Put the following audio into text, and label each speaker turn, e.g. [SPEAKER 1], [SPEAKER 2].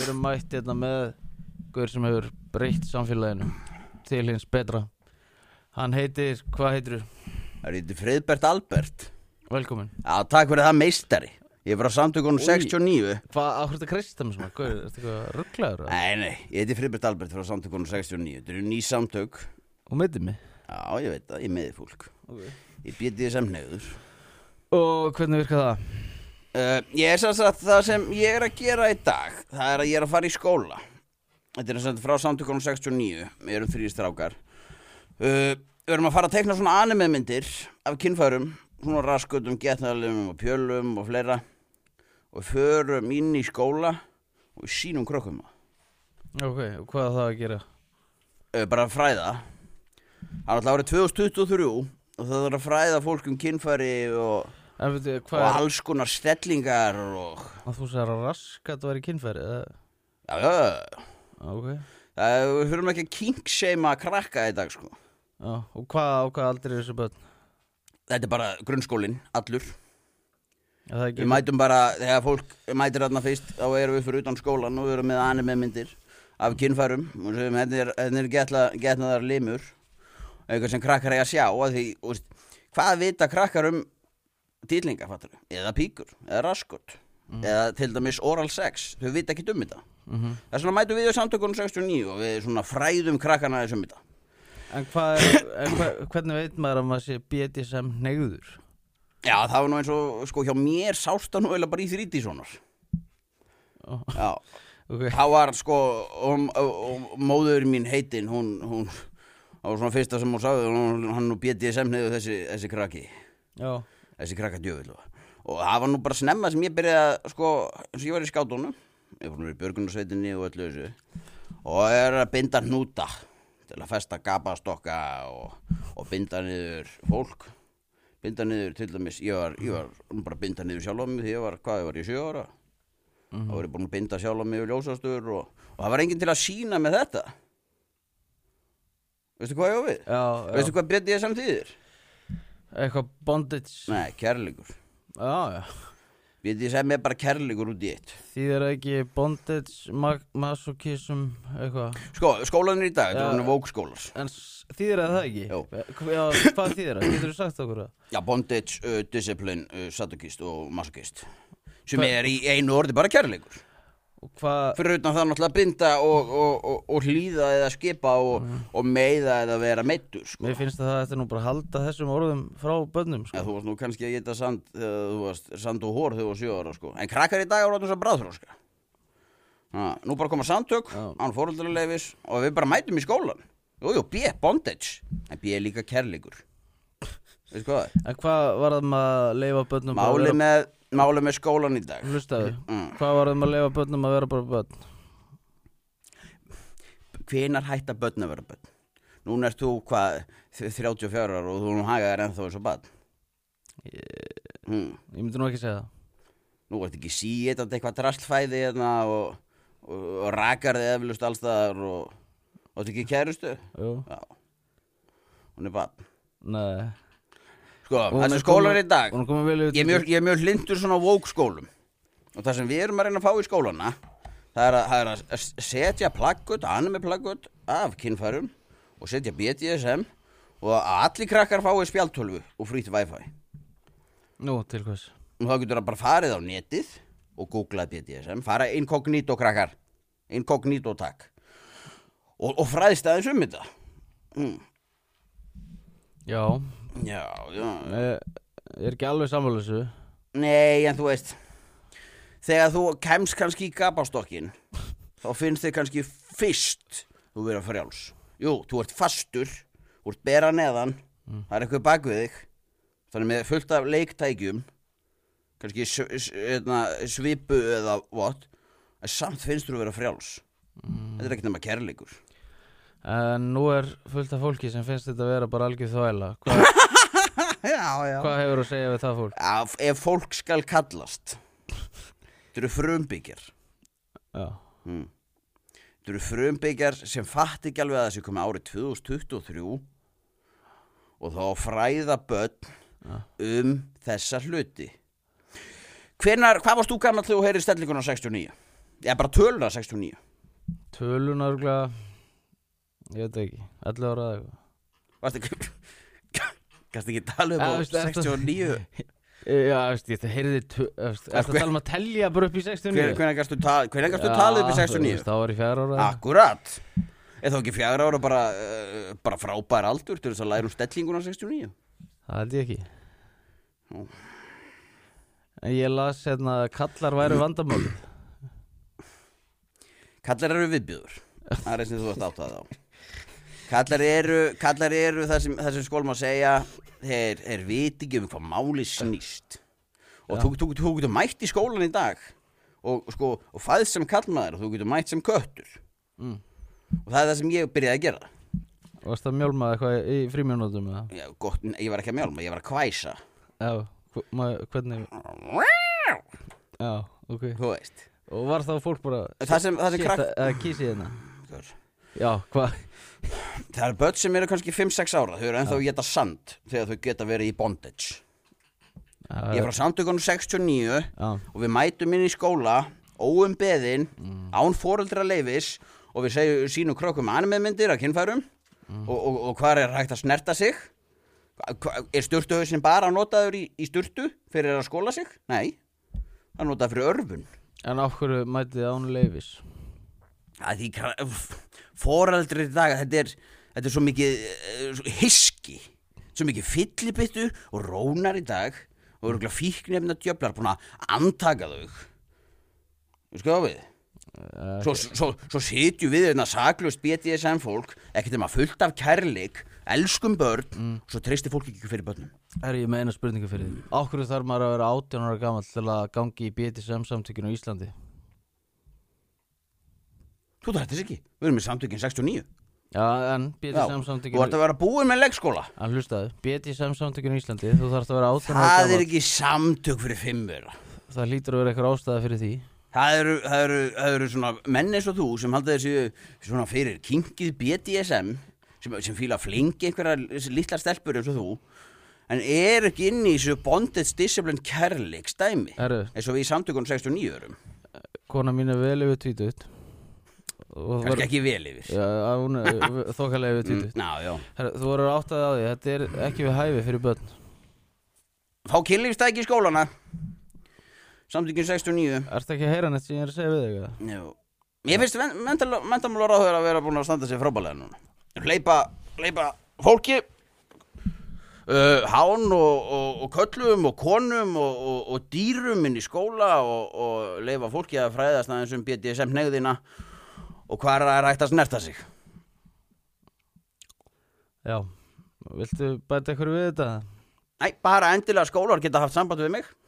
[SPEAKER 1] erum mætt hérna með Guður sem hefur breytt samfélaginu Til hins betra Hann heitir, hvað heitir þú?
[SPEAKER 2] Það er þetta Friðbert Albert
[SPEAKER 1] Velkomin
[SPEAKER 2] Já, takk fyrir það meistari Ég er frá samtökunum
[SPEAKER 1] Oj.
[SPEAKER 2] 69
[SPEAKER 1] Hvað, á hverju þetta kreist það með svona? Guður, ertu eitthvað rugglaður?
[SPEAKER 2] Nei, nei, ég heiti Friðbert Albert frá samtökunum 69 Þetta eru ný samtök
[SPEAKER 1] Og meiti mig
[SPEAKER 2] Já, ég veit það, ég meði fólk Ég býti þið sem neyður
[SPEAKER 1] Og hvernig virka það?
[SPEAKER 2] uh, Ég er sem sagt það sem ég er að gera í dag Það er að ég er að fara í skóla Þetta er sem sagt frá samtökunum 69 Við erum þrýr strákar uh, Við erum að fara að tekna svona anime myndir Af kynfærum Svona raskutum, getnaðalum og pjölum og fleira Og förum inn í skóla Og sínum krökkum það
[SPEAKER 1] Ok, og hvað á það að gera?
[SPEAKER 2] uh, bara að fræða Það er alltaf árið 2023 og það þarf að fræða fólk um kynfæri og,
[SPEAKER 1] En veitu,
[SPEAKER 2] og
[SPEAKER 1] hvað er
[SPEAKER 2] alls konar stellingar og
[SPEAKER 1] að þú sér að raskat væri kynfæri? eða?
[SPEAKER 2] já, já, já.
[SPEAKER 1] Ok,
[SPEAKER 2] Það er- Eh, við höfum ekki að kinkseima krakka í dag sko.
[SPEAKER 1] já, og hvað á hvað aldrei er þessu börn?
[SPEAKER 2] Þetta er bara grunnskólinn, allur
[SPEAKER 1] Er það ekki
[SPEAKER 2] Við mætum bara, þegar fólk mætir þarna fyrst þá erum við fyrir utan skólan og við erum með anime myndir af kynfærum og sem henni er, henni er getla, getnaðar limur eitthvað sem krakkar eiga að sjá að því, og, veist, hvað vita krakkar um dýrlinga, fattur eða píkur, eða raskot eða til dæmis oral sex, þau vita ekki um þetta
[SPEAKER 1] Mhm.
[SPEAKER 2] þess vegna mætum við í samtökunum 69 og við svona fræðum krakkana þessum þetta
[SPEAKER 1] En hvað er, en hva, hvernig veit maður að maður sé BDSM neyður?
[SPEAKER 2] já, það var nú eins og, sko, hjá mér sást það nú eiginlega bara í þríti svonar
[SPEAKER 1] Ó.
[SPEAKER 2] já
[SPEAKER 1] Okay.
[SPEAKER 2] Það var sko, og, og, og móður mín heitin, hún, hún, það var svona fyrsta sem hún sagði, hún, hann nú BDSM neyðu þessi, þessi krakki,
[SPEAKER 1] Já,
[SPEAKER 2] þessi krakka djöfull. Og það var nú bara snemma sem ég byrjaði að, sko, eins og ég var í skátunum, ég var nú í björgunarsveitinni og öllu þessu, og er að binda hnúta til að festa gapastokka og, og binda niður fólk, binda niður til dæmis, ég var, ég var bara að binda niður sjálf á mig því ég var, hvað, ég var í sjö ára? þá var ég búin að binda sjálf á mig og ljósastur og, og það var enginn til að sína með þetta veistu hvað ég á við?
[SPEAKER 1] já, já.
[SPEAKER 2] veistu hvað betið ég samtíðir?
[SPEAKER 1] eitthvað bondage
[SPEAKER 2] nei, kærleikur
[SPEAKER 1] Já, já,
[SPEAKER 2] betið ég sem er bara kærleikur út í eitt
[SPEAKER 1] því það er ekki bondage, ma- masochism, eitthvað
[SPEAKER 2] sko, skólanir í dag,
[SPEAKER 1] Já.
[SPEAKER 2] þetta er vókskólar
[SPEAKER 1] En s- þýðir það það ekki? Eh,
[SPEAKER 2] Jó.
[SPEAKER 1] Já, hvað þýðir það? Getur þú sagt okkur það?
[SPEAKER 2] já, bondage, uh, discipline, uh, sadokist og masokist sem er í einu orði bara kærleikur
[SPEAKER 1] Og hvað,
[SPEAKER 2] fyrir utan það náttúrulega að binda og, og, og, og hlýða eða skipa og, og meiða eða vera meittur sko.
[SPEAKER 1] mér finnst að það ætti nú bara að halda þessum orðum frá bönnum
[SPEAKER 2] Já,
[SPEAKER 1] sko.
[SPEAKER 2] þú varst nú kannski að geta sand, þegar þú varst sand og hór þegar þú var sjö ára, sko. En krakkar í dag eru orðin svo bráðþróska. Ha, nú bara koma samtök,
[SPEAKER 1] Já.
[SPEAKER 2] án fóröldraleifis og við bara mætum í skólan. Jú, jú, B, bondage. En B er líka kærleikur. Veistu hvað það er?
[SPEAKER 1] En hvað var það maður að leifa bönnum bara að
[SPEAKER 2] Máli
[SPEAKER 1] vera-
[SPEAKER 2] með, máli með skólan í dag.
[SPEAKER 1] Hlustaðu,
[SPEAKER 2] Mm.
[SPEAKER 1] hvað var það maður að leifa bönnum að vera bara bönn?
[SPEAKER 2] Hvenar hætta börn að vera börn? Núna ert þú, hvað, þ- 34 ára og þú nú hagað er ennþá eins og barn. Hmm.
[SPEAKER 1] Ég myndi nú ekki segja það
[SPEAKER 2] nú ert ekki síetandi eitthvað drastlfæði hérna og, og, og rakar þið eflust allstaðar og og þetta ekki kærustu
[SPEAKER 1] Jú,
[SPEAKER 2] já, hún er bann
[SPEAKER 1] nei
[SPEAKER 2] sko,
[SPEAKER 1] Hún
[SPEAKER 2] þessi
[SPEAKER 1] er
[SPEAKER 2] skólar
[SPEAKER 1] komin-
[SPEAKER 2] í dag
[SPEAKER 1] Hún er komin vel yfir
[SPEAKER 2] ég er mjög, ég er mjög hlindur svona vók skólum og það sem við erum að reyna að fá í skólana það er að, það er að s- setja plaggut, anime plaggut af kynfærum og setja BDSM og að allir krakkar fái spjaltölvu og frýtt wifi
[SPEAKER 1] Nú, til hvers
[SPEAKER 2] og þá getur það bara farið á netið og googlað BDSM, fara inkognito krakkar, inkognito takk og, og fræðist aðeins um þetta
[SPEAKER 1] Já,
[SPEAKER 2] já, já,
[SPEAKER 1] ég, Eh, ég er ekki alveg sammála þessu
[SPEAKER 2] nei en þú veist þegar þú kemst kannski í gapastokkin þá finnst þið kannski fyrst þú vera frjáls, jú, þú ert fastur þú ert bera neðan það er eitthvað bak við þig þannig með fullt af leiktækjum kannski s- s- hérna, svipu eða what en samt finnst þú vera frjáls þetta er ekkert nema kærleikur
[SPEAKER 1] En nú er fullt af fólki sem finnst þetta að vera bara algjör þvæla Hva,
[SPEAKER 2] já, já.
[SPEAKER 1] Hvað hefur að segja við það fólk?
[SPEAKER 2] Af, ef fólk skal kallast þetta eru frumbyggjar
[SPEAKER 1] Já,
[SPEAKER 2] þetta eru frumbyggjar sem fatt ekki alveg að þessi komið árið 2023 og þá fræða börn um þessa hluti Hvenar, hvað varst þú gammal þegar þú heyrið stellinguna 69? Ég er bara töluna 69
[SPEAKER 1] Tölun örgulega Ég veit það ekki, 11 ára eða eitthvað
[SPEAKER 2] Varstu ekki Kannst ekki tala um
[SPEAKER 1] Ja,
[SPEAKER 2] á
[SPEAKER 1] veistu, ertu-
[SPEAKER 2] 69
[SPEAKER 1] E, Já, veist, ég heyrði Þetta
[SPEAKER 2] hver-
[SPEAKER 1] tala um að telja bara upp í 69
[SPEAKER 2] Hver- Hvenær gæstu talið upp í
[SPEAKER 1] Já,
[SPEAKER 2] 69?
[SPEAKER 1] þú veist, Þá var ég fjara ára
[SPEAKER 2] Ah.
[SPEAKER 1] eða-
[SPEAKER 2] Akkurat Er þá ekki fjara ára bara, uh, bara frábær aldur til þess að læra um stellinguna 69?
[SPEAKER 1] Það held ég ekki
[SPEAKER 2] Nú.
[SPEAKER 1] En ég las hérna að Kallar væru vandamálið
[SPEAKER 2] Kallar eru viðbjöður Það er sem þú ert átt að á Kallar eru, kallar eru það, sem, það sem skólum að segja Þeir, þeir viti ekki um hvað máli snýst Og þú, þú, þú getur mætt í skólan í dag Og, sko, og fæðst sem kallmaður og þú getur mætt sem köttur
[SPEAKER 1] Mm.
[SPEAKER 2] Og það er það sem ég byrjaði að gera
[SPEAKER 1] Varst það mjálmaði eitthvað í frímjónutum eða?
[SPEAKER 2] Já, gott, Ég var ekki að mjálma, ég var að kvæsa
[SPEAKER 1] Já, hv- ma- hvernig Já, ok
[SPEAKER 2] Þú veist
[SPEAKER 1] Og var þá fólk bara
[SPEAKER 2] Það sem, það sem
[SPEAKER 1] Shit,
[SPEAKER 2] krakk
[SPEAKER 1] að- að kísi hérna
[SPEAKER 2] Hvað?
[SPEAKER 1] Já, hvað
[SPEAKER 2] Það eru börn sem eru kannski 5-6 ára, þau eru ennþá að geta sand þegar þau geta verið í bondage. Ég er frá samtökunum 69
[SPEAKER 1] Já,
[SPEAKER 2] og við mætum inn í skóla, óum beðin, án foreldra leifis og við segjum sínum krökkum animemyndir af kynfærum og, og, og hvað er hægt að snerta sig? Hva, er styrtuhausin bara notaður í, í styrtu fyrir að skóla sig? Nei, það er notaður fyrir örfun.
[SPEAKER 1] en af hverju mætið án leifis?
[SPEAKER 2] að því kra- foreldrar í dag þetta er, þetta er svo mikið eh, svo hiski, svo mikið fyllibittu og rónar í dag og eru fíknefna djöflar búin að antaka þau Þú sko við
[SPEAKER 1] Uh,
[SPEAKER 2] svo, svo, svo sitjum við þetta saklaust BDSM fólk ekkert um að fullt af kærleik elskum börn og svo treystir fólk ekki fyrir börnum
[SPEAKER 1] er ég með eina spurningu fyrir því Af hverju þarf maður að vera 18 ára gamall til að gangi í BDSM samtökinu á Íslandi?
[SPEAKER 2] Þú þarf þetta ekki, við erum í samtökin 69
[SPEAKER 1] Já, en BDSM
[SPEAKER 2] Þú ert
[SPEAKER 1] samtökinu
[SPEAKER 2] að vera búin með leikskóla
[SPEAKER 1] Hann hlustaði, BDSM samtökinu í Íslandi Þú þarfst að vera 18 ára
[SPEAKER 2] Það
[SPEAKER 1] gamall
[SPEAKER 2] er ekki samtök fyrir fimmur
[SPEAKER 1] Það hlýtur að vera eitthvað ástæða fyrir því
[SPEAKER 2] Það eru, það, eru, það eru svona menn eins og þú sem halda þessi svona fyrir kynkið BDSM sem, sem fíla að flingi einhverja litlar stelpur eins og þú en er ekki inn í þessu bondage discipline kærleiks dæmi
[SPEAKER 1] Herru,
[SPEAKER 2] eins og við í samtökunum 69 erum
[SPEAKER 1] kona mín er vel yfir tvítut Og þú
[SPEAKER 2] kannski
[SPEAKER 1] verður
[SPEAKER 2] ekki Mm. vel yfir
[SPEAKER 1] Já, hún er þokkalega yfir tvítut
[SPEAKER 2] Ná, já.
[SPEAKER 1] Herru, þú verður áttað á því Þetta er ekki við hæfi fyrir börn
[SPEAKER 2] Þá kynlífst það ekki í skólana samtökun 69
[SPEAKER 1] Ertu ekki að heyra neitt sem ég er að segja við þig? eða?
[SPEAKER 2] já. Mér finnst mentamálur áhugur að vera búin að standa sér frábælega núna Hleypa, hleypa fólki uh, hán og, og, og köllum og konum og, og, og dýrum inn í skóla og, og leifa fólki að fræðast aðeins um BDSM negðina og hvað er að rætt að snerta sig
[SPEAKER 1] Já, viltu bæta ykkur við þetta?
[SPEAKER 2] Nei, bara endilega skólar geta haft samband við mig